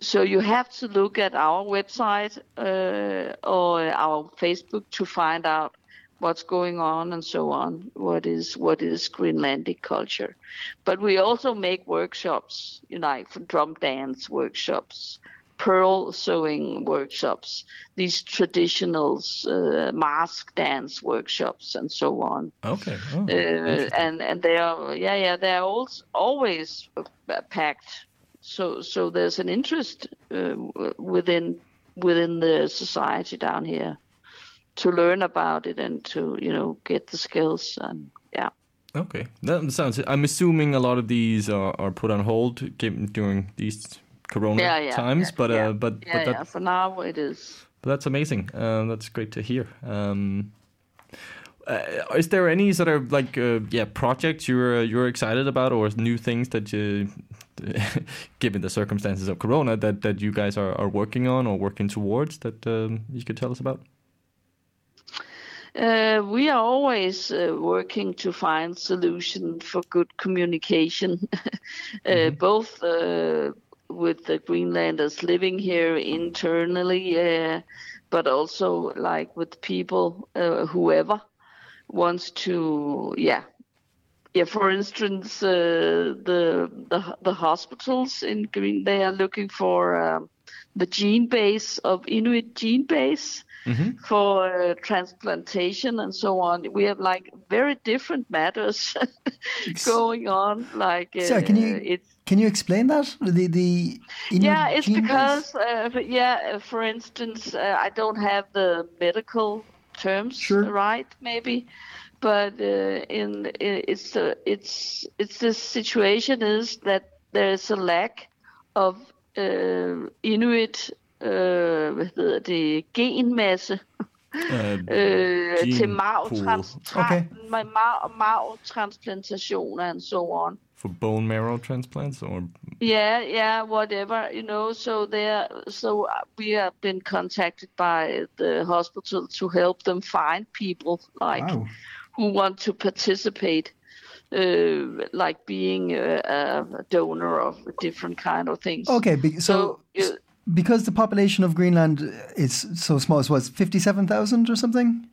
so you have to look at our website uh, or our Facebook to find out what's going on and so on. What is what is Greenlandic culture? But we also make workshops, you know, like for drum dance workshops, pearl sewing workshops, these traditionals, uh, mask dance workshops, and so on
Okay. Oh.
uh, and and they are yeah yeah they are all, always uh, packed so so there's an interest uh, w- within within the society down here to learn about it and to you know get the skills and yeah
Okay. That sounds. I'm assuming a lot of these are, are put on hold given- during these Corona
yeah yeah
times,
yeah,
but
yeah,
uh, but
yeah,
but that
yeah. for now it is
But that's amazing. Um, that's great to hear. Um, uh, is there any sort of like uh, yeah projects you're you're excited about or new things that you, [laughs] given the circumstances of Corona, that that you guys are, are working on or working towards that um, you could tell us about?
Uh, we are always uh, working to find solution for good communication, [laughs] uh, both uh, with the Greenlanders living here internally, uh, but also like with people, uh, whoever wants to, yeah. Yeah, for instance, uh, the, the the hospitals in Green, they are looking for um, the gene base of Inuit gene base
Mm-hmm.
for uh, transplantation and so on. We have like very different matters [laughs] going on. Like, uh,
Sorry, can you
it's
can you explain that? The the Inuit
yeah, it's
gene base?
because uh, f- yeah, uh, for instance, uh, I don't have the medical terms
Sure.
right, maybe, but uh, in i- it's the it's it's the situation is that there is a lack of uh, Inuit uh, hvad hedder det genmasse.
Uh,
øh, til
Gene
marvtrans-
pool.
tra-
Okay.
ma- marv- marvtransplantationer and so on.
for bone marrow transplants or
Yeah, yeah, whatever, you know. So there, so uh, we have been contacted by the hospital to help them find people like
Wow.
who want to participate, uh, like being a, a donor of different kind of things.
Okay, be, so,
So, uh,
because the population of Greenland is so small, so it's fifty-seven thousand or something.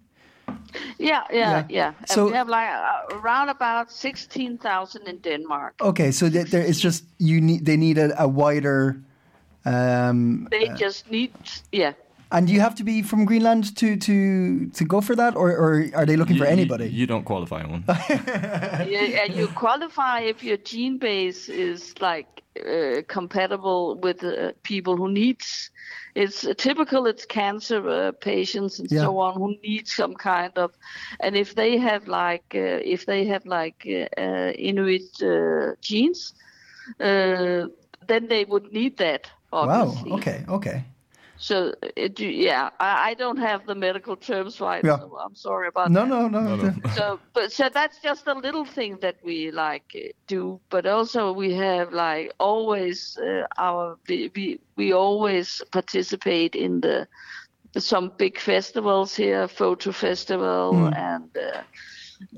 Yeah, yeah,
Yeah.
yeah. And
So-
we have like uh, around about sixteen thousand in Denmark.
Okay, so that there, it's just you need they need a, a wider, um,
They just need, yeah.
and you have to be from Greenland to to to go for that, or, or are they looking for
You- you-
anybody?
You, don't qualify
[laughs]
one.
yeah, and you qualify if your gene base is like uh, compatible with uh, people who needs. It's typical. It's cancer uh, patients and so
Yeah.
on who need some kind of, and if they have like uh, if they have like uh, uh, Inuit uh, genes, uh, then they would need that.
wow.
Obviously.
Okay. Okay.
So it, yeah, I, I don't have the medical terms right.
Yeah.
So I'm sorry about
No,
that
no, no.
no.
so but so that's just a little thing that we like uh, do but also we have like always uh, our we, we we always participate in the some big festivals here photo festival and uh,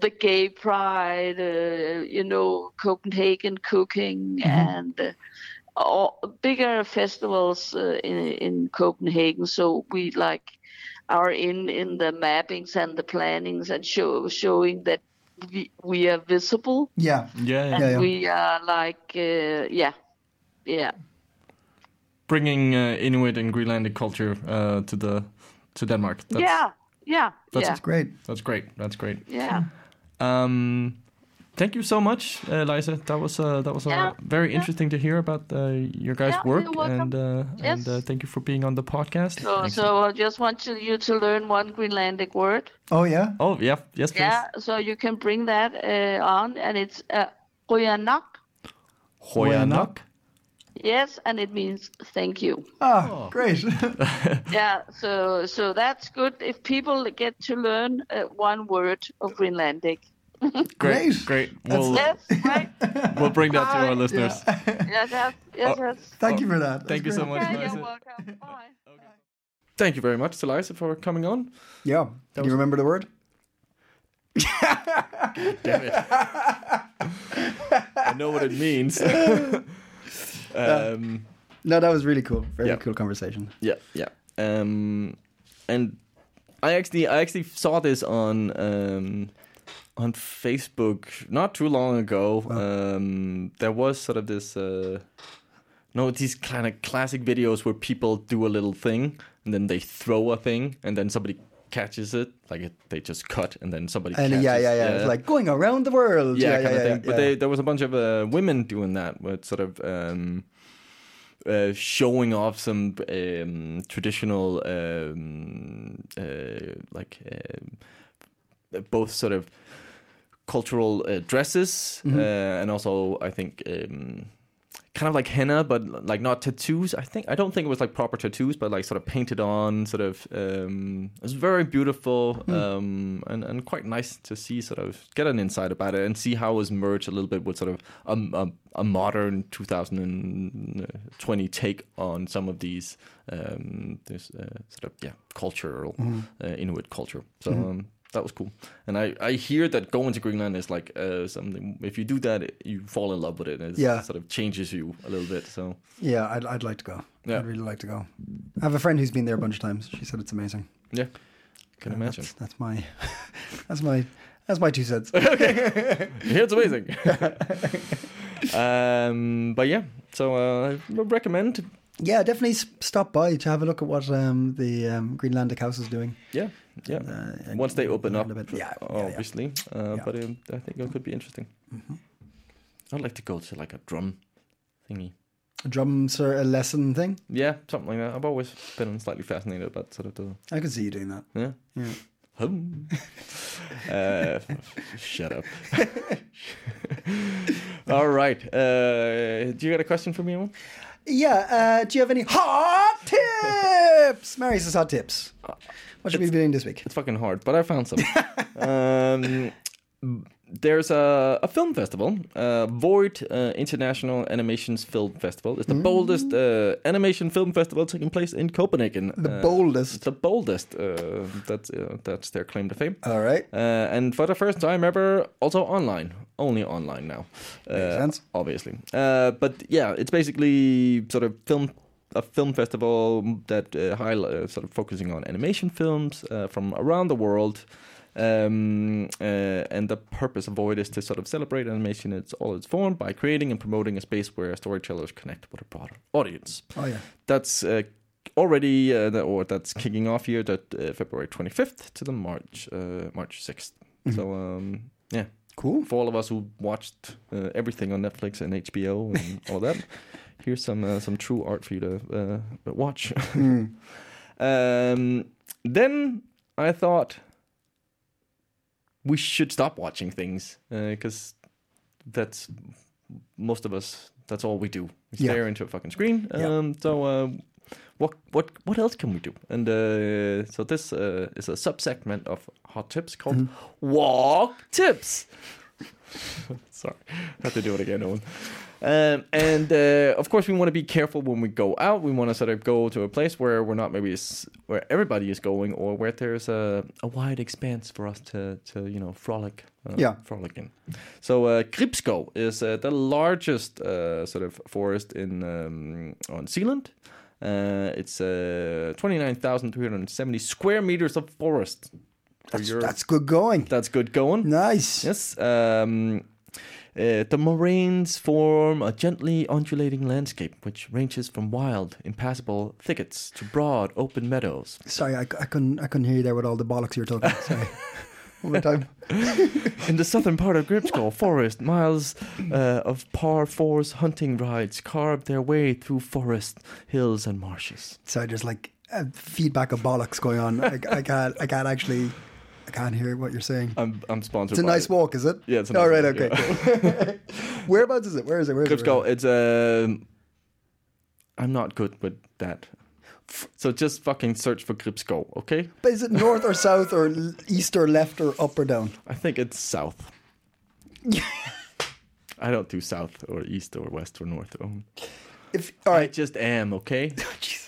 the gay pride uh, you know copenhagen cooking and uh, all bigger festivals uh, in in Copenhagen. So we like are in in the mappings and the plannings and show showing that we we are visible
[laughs] Yeah.
yeah, yeah.
and
Yeah, yeah.
we are like uh, yeah yeah
Bringing uh, Inuit and Greenlandic culture uh, to the to Denmark. That's,
yeah yeah
that's
yeah
what's
Great.
That's great. That's great.
yeah.
Um, thank you so much, Eliza. That was uh, that was
Yeah,
uh, very
yeah.
interesting to hear about uh, your guys'
Yeah, you're
work,
welcome.
and uh, and
Yes.
uh, thank you for being on the podcast.
So,
Excellent.
so I just want you, you to learn one Greenlandic word.
Oh yeah.
oh yeah, yes, please.
Yeah, so you can bring that uh, on, and it's uh, Ruyanak.
Hoyanak.
Yes, and it means thank you.
Ah,
Oh.
great. [laughs]
Yeah, so so that's good if people get to learn uh, one word of Greenlandic.
Great,
Great.
great.
[laughs]
We'll
Yes, right.
we'll bring that to our
Bye.
listeners.
yes, yes, yes. yes.
Thank you for that. That's
Thank you so
great.
much,
Yeah,
Eliza.
you're welcome. Bye.
Thank you very much, Eliza, for coming on.
Yeah. Do you remember the word?
Damn it. [laughs] I know what it [laughs] means. um,
No, that was really cool. Very
Yeah.
cool conversation.
yeah, yeah. Um, and I actually, I actually saw this on um, on Facebook not too long ago. Um, there was sort of this. Uh, no, it's these kind of classic videos where people do a little thing and then they throw a thing and then somebody catches it, like it, they just cut and then somebody
And
catches
yeah, yeah, yeah. It's like going around the world.
yeah, kind of thing.
yeah,
but They, there was a bunch of uh, women doing that with sort of um, uh, showing off some um, traditional, um, uh, like um, both sort of cultural uh, dresses uh, and also I think um, kind of like henna, but like not tattoos. I think I don't think it was like proper tattoos, but like sort of painted on, sort of. Um, it was very beautiful um, and and quite nice to see, sort of get an insight about it and see how it was merged a little bit with sort of a, a, a modern 2020 take on some of these um, this uh, sort of yeah cultural uh, Inuit culture. So. Um, that was cool. And I, I hear that going to Greenland is like uh, something. If you do that, it- you fall in love with it. And it's-
Yeah.
it sort of changes you a little bit. So
Yeah, I'd, I'd like to go.
Yeah.
I'd really like to go. I have a friend who's been there a bunch of times. She said it's amazing.
yeah, can imagine.
That's, that's my, [laughs] that's my, that's my two cents. [laughs]
Yeah, [laughs] it's amazing. um, but yeah, so uh, I would recommend.
yeah, definitely s- stop by to have a look at what um, the um, Greenlandic House is doing.
Yeah, yeah.
Uh,
Once they open up,
a bit. Yeah, yeah, yeah.
obviously.
Yeah.
Uh,
Mm-hmm.
But um, I think it could be interesting. I'd like to go to like a drum thingy.
A drum sort of lesson thing.
Yeah, something like that. I've always been slightly fascinated about sort of the
I could see you doing that.
yeah.
Yeah. [laughs]
Hum. uh, shut up. [laughs] All right. Uh, do you got a question for me, Emil?
Yeah. Uh, do you have any hot [laughs] tips? Mary says hot tips. What should we be doing this week?
It's fucking hard, but I
[laughs]
found some. um, there's a, a film festival, uh, Void uh, International Animations Film Festival. It's the
Mm.
boldest uh, animation film festival taking place in Copenhagen.
The
Uh,
boldest.
It's the boldest. Uh, that's uh, that's their claim to fame.
All right.
Uh, and for the first time ever, also online, only online now. Uh,
sense.
Obviously, uh, but yeah, it's basically sort of film a film festival that uh, highlight uh, sort of focusing on animation films uh, from around the world. Um, uh, and the purpose of Void is to sort of celebrate animation in its all its form by creating and promoting a space where storytellers connect with a broader audience
Oh yeah.
that's uh, already uh, that, or that's kicking off here that uh, February 25th to the March uh, March 6th. So um, yeah,
Cool.
for all of us who watched uh, everything on Netflix and
[laughs]
HBO and all that, here's some uh, some true art for you to uh, watch. [laughs]
Hmm.
um, then I thought we should stop watching things because that's most of us. That's all we do. We
Yeah.
stare into a fucking screen. Um,
Yeah.
So. Uh, what what what else can we do? And uh, so this uh, is a subsegment of hot tips called
Mm-hmm.
walk tips. Sorry, [laughs] had to do it again, Owen. Um, and uh, of course, we want to be careful when we go out. We want to sort of go to a place where we're not maybe s- where everybody is going, or where there's a, a wide expanse for us to to you know frolic, uh,
Yeah.
frolic in. So uh, Gribskov is uh, the largest uh, sort of forest in um, on Sealand. Uh, it's uh, 29,370 square meters of forest. For
That's,
your-
that's good going.
that's good going.
Nice.
Yes. Um, uh, the moraines form a gently undulating landscape which ranges from wild, impassable thickets to broad, open meadows.
Sorry, I, c- I couldn't I couldn't hear you there with all the bollocks you were talking.
[laughs]
Sorry. One more time.
In the southern part of Gripsko Forest, miles uh, of par fours hunting rides carve their way through forest, hills, and marshes.
Sorry, there's like a feedback of bollocks going on. I, I can't I can't actually I can't hear what you're saying.
I'm, I'm sponsored
it's a
by
nice walk, is it?
Yeah, it's a
All
nice
right,
walk,
okay. [laughs] Whereabouts is it? Where is it? Where is it?
Gripsko, it's Um, I'm not good with that. So just fucking search for Gripsko, okay?
But is it north or south or l- east or left or up or down?
I think it's
[laughs]
south. I don't do south or east or west or north. Or...
If all
I
right,
just am,
[laughs]
okay?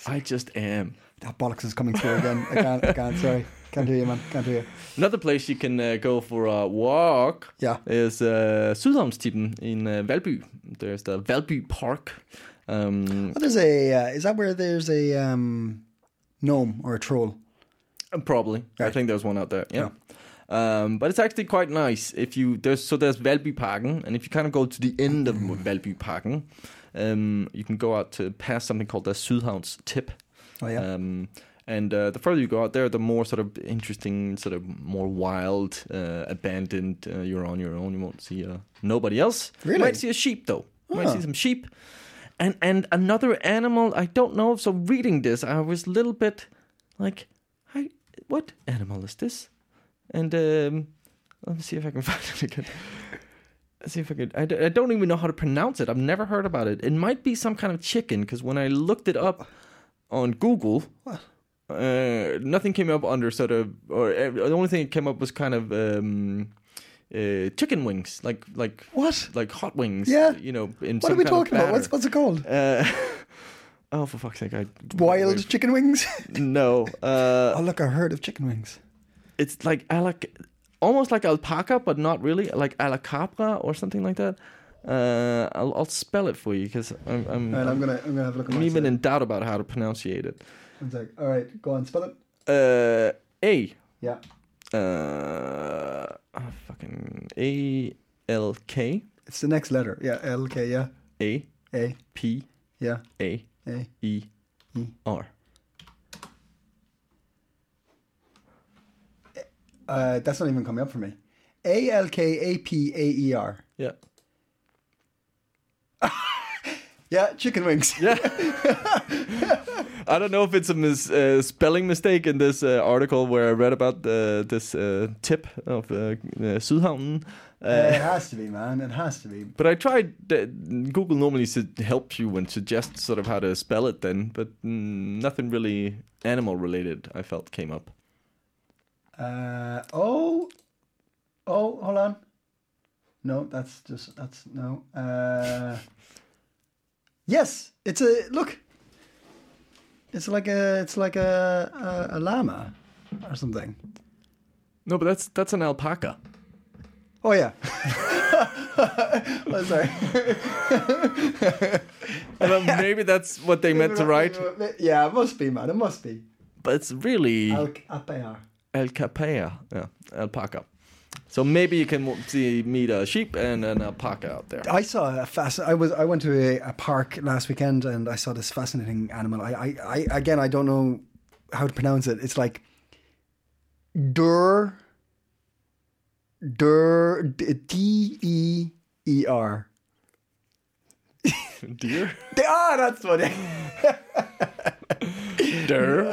I just am.
that bollocks is coming through again. I can't. I can't. Sorry, can't hear you, man. Can't hear you.
Another place you can uh, go for a walk
Yeah.
is uh, Sydhavnstippen in uh, Valby. There's the Valby Park. Um,
What is a? Uh, is that where there's a um, gnome or a troll?
Probably. I
Right.
think there's one out there. Yeah. Um, but it's actually quite nice if you there's so there's Valbyparken, and if you kind of go to the end of Valbyparken, um, you can go out to past something called the Sydhavns Tip.
Oh, yeah.
Um, and uh, the further you go out there, the more sort of interesting, sort of more wild, uh, abandoned. Uh, you're on your own. You won't see uh, nobody else. You
Really?
might see a sheep though. You might see some sheep, and and another animal. I don't know. So reading this, I was a little bit like, I, what [laughs] animal is this? And um, let me see if I can find it again. Let's see if I could. I, d- I don't even know how to pronounce it. I've never heard about it. It might be some kind of chicken because when I looked it up on Google, uh, nothing came up under sort of, or uh, the only thing that came up was kind of um, uh, chicken wings, like like
What?
like hot wings.
Yeah.
you know. In
What
some
are we
kind of
talking about?
batter.
What's what's it called?
Uh, [laughs] oh, for fuck's sake! I
Wild
wait,
chicken wings?
[laughs] No,
oh,
uh,
look, a herd of chicken wings.
it's like alac, almost like alpaca, but not really, like alacapra or something like that. Uh, I'll, I'll spell it for you because I'm I'm,
All right, I'm gonna I'm gonna have a look. At
I'm
mine
even
today.
in doubt about how to pronunciate it.
One sec. All right, go on, spell it.
Uh, a,
Yeah,
uh, ah, fucking A L K
it's the next letter. Yeah, L K. Yeah,
A
A.
P
Yeah,
A
A.
E R.
Uh, that's not even coming up for me. A L K A P A E R.
Yeah.
Yeah, chicken wings.
I don't know if it's a mis- uh, spelling mistake in this uh, article where I read about uh, this uh, tip of uh, uh, Sydhavnen. Uh,
Uh, it has to be, man. It has to be.
but I tried. Uh, Google normally su- helps you and suggests sort of how to spell it then, but mm, nothing really animal related I felt came up.
Uh, oh, oh, hold on. No, that's just that's no. Uh, yes, it's a look. It's like a it's like a a, a llama or something.
No, but that's that's an alpaca.
Oh yeah. [laughs] oh, sorry.
And um, maybe that's what they meant to write.
Yeah, it must be, man. It must be.
But it's really
Al- apar.
alcapea, yeah, alpaca. So maybe you can w- see meet a sheep and an alpaca out there.
I saw a fast. I was. I went to a, a park last weekend and I saw this fascinating animal. I, I, I again, I don't know how to pronounce it. It's like dur, dur, d e e r.
Deer.
Ah, that's funny. [laughs]
[laughs] Deer.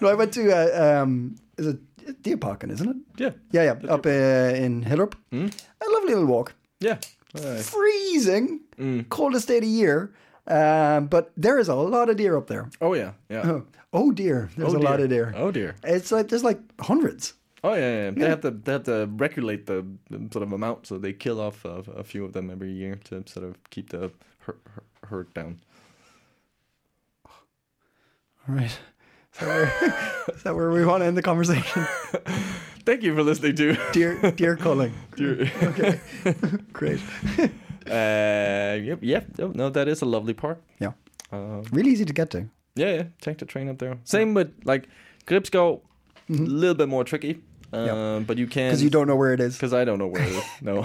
no, I went to uh, um, is it deer parking, isn't it?
yeah.
Yeah, yeah, up uh, in Hillerp. A lovely little walk.
Yeah. Uh,
Freezing, coldest day of the year. Um, but there is a lot of deer up there.
Oh yeah. Yeah.
Oh, [laughs] oh dear, there's
Oh,
a lot
dear.
of deer.
Oh, dear.
It's like there's like hundreds.
Oh yeah, yeah, yeah. They have to they have to regulate the the sort of amount, so they kill off a, a few of them every year to sort of keep the her, her, herd down.
All right. Is that where, [laughs] is that where we want to end the conversation? [laughs]
Thank you for listening to. [laughs]
Deer, deer culling.
Deer.
Okay. Great.
Uh, yep, yep. No, no, that is a lovely park.
Yeah.
Um,
Really easy to get to.
Yeah, yeah. Take the train up there. Same with like Gripsco, a little bit more tricky, um,
Yeah.
but you can
Because Mm-hmm. you don't know where it is.
because I don't know where it is. No,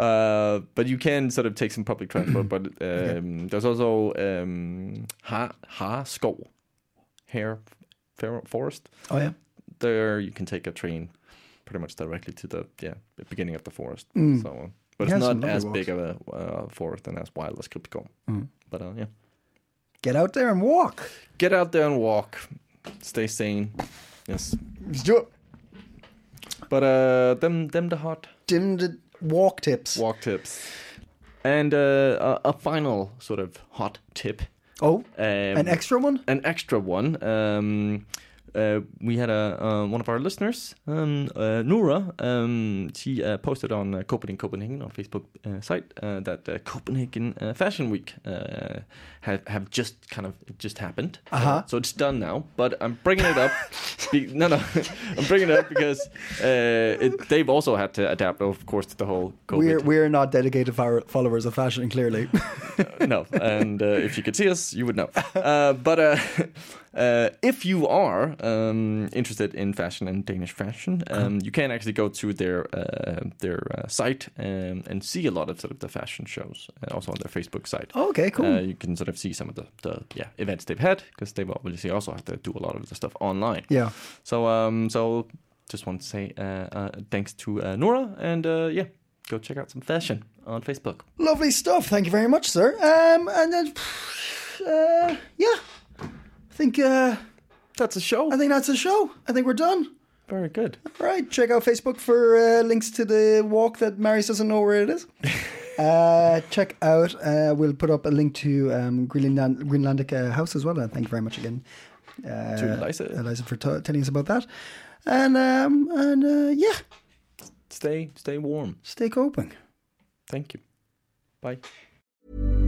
uh, but you can sort of take some public transport. But um, there's also um, Ha Ha Skov, Hare Fer- Forest.
Oh, yeah.
There you can take a train, pretty much directly to the yeah the beginning of the forest. So, uh, but
You
it's
have some
not
lovely
as
walks.
big of a uh, forest and as wild as Gripsco. But uh, yeah.
Get out there and walk.
get out there and walk stay sane yes
Let's do it.
but uh them them the hot
Dim the walk tips.
walk tips and uh a, a final sort of hot tip
Oh,
um,
an extra one?
an extra one um uh, we had a uh, one of our listeners, um, uh, Nora. Um, she uh, posted on uh, Copenhagen Copenhagen on Facebook uh, site uh, that uh, Copenhagen uh, Fashion Week uh, have have just kind of just happened.
Uh-huh.
So it's done now, but I'm bringing it up. be, [laughs] no, no, I'm bringing it up because uh, it, they've also had to adapt, of course, to the whole COVID.
We're, we're not dedicated fo- followers of fashion, clearly. [laughs]
no. And uh, if you could see us, you would know. Uh, but uh, [laughs] uh, if you are um, interested in fashion and Danish fashion,
Uh-huh.
um, you can actually go to their uh, their uh, site um, and see a lot of sort of the fashion shows, and also on their Facebook site.
okay, Oh, cool.
Uh, you can sort of see some of the, the yeah events they've had because they've obviously also had to do a lot of the stuff online.
yeah.
So um so just want to say uh, uh, thanks to uh, Nora and uh, yeah go check out some fashion on Facebook.
Lovely stuff. Thank you very much, sir. Um, and then, [sighs] uh, yeah, I think uh,
That's a show.
I think that's the show. I think we're done.
Very good.
Right, check out Facebook for uh, links to the walk that Marius doesn't know where it
[laughs]
is. uh, check out, uh, we'll put up a link to um, Greenland, Greenlandic uh, House as well. And thank you very much again, uh,
To Eliza.
Eliza for t- telling us about that. And um, and uh, yeah,
Stay stay warm.
stay coping.
Thank you. Bye.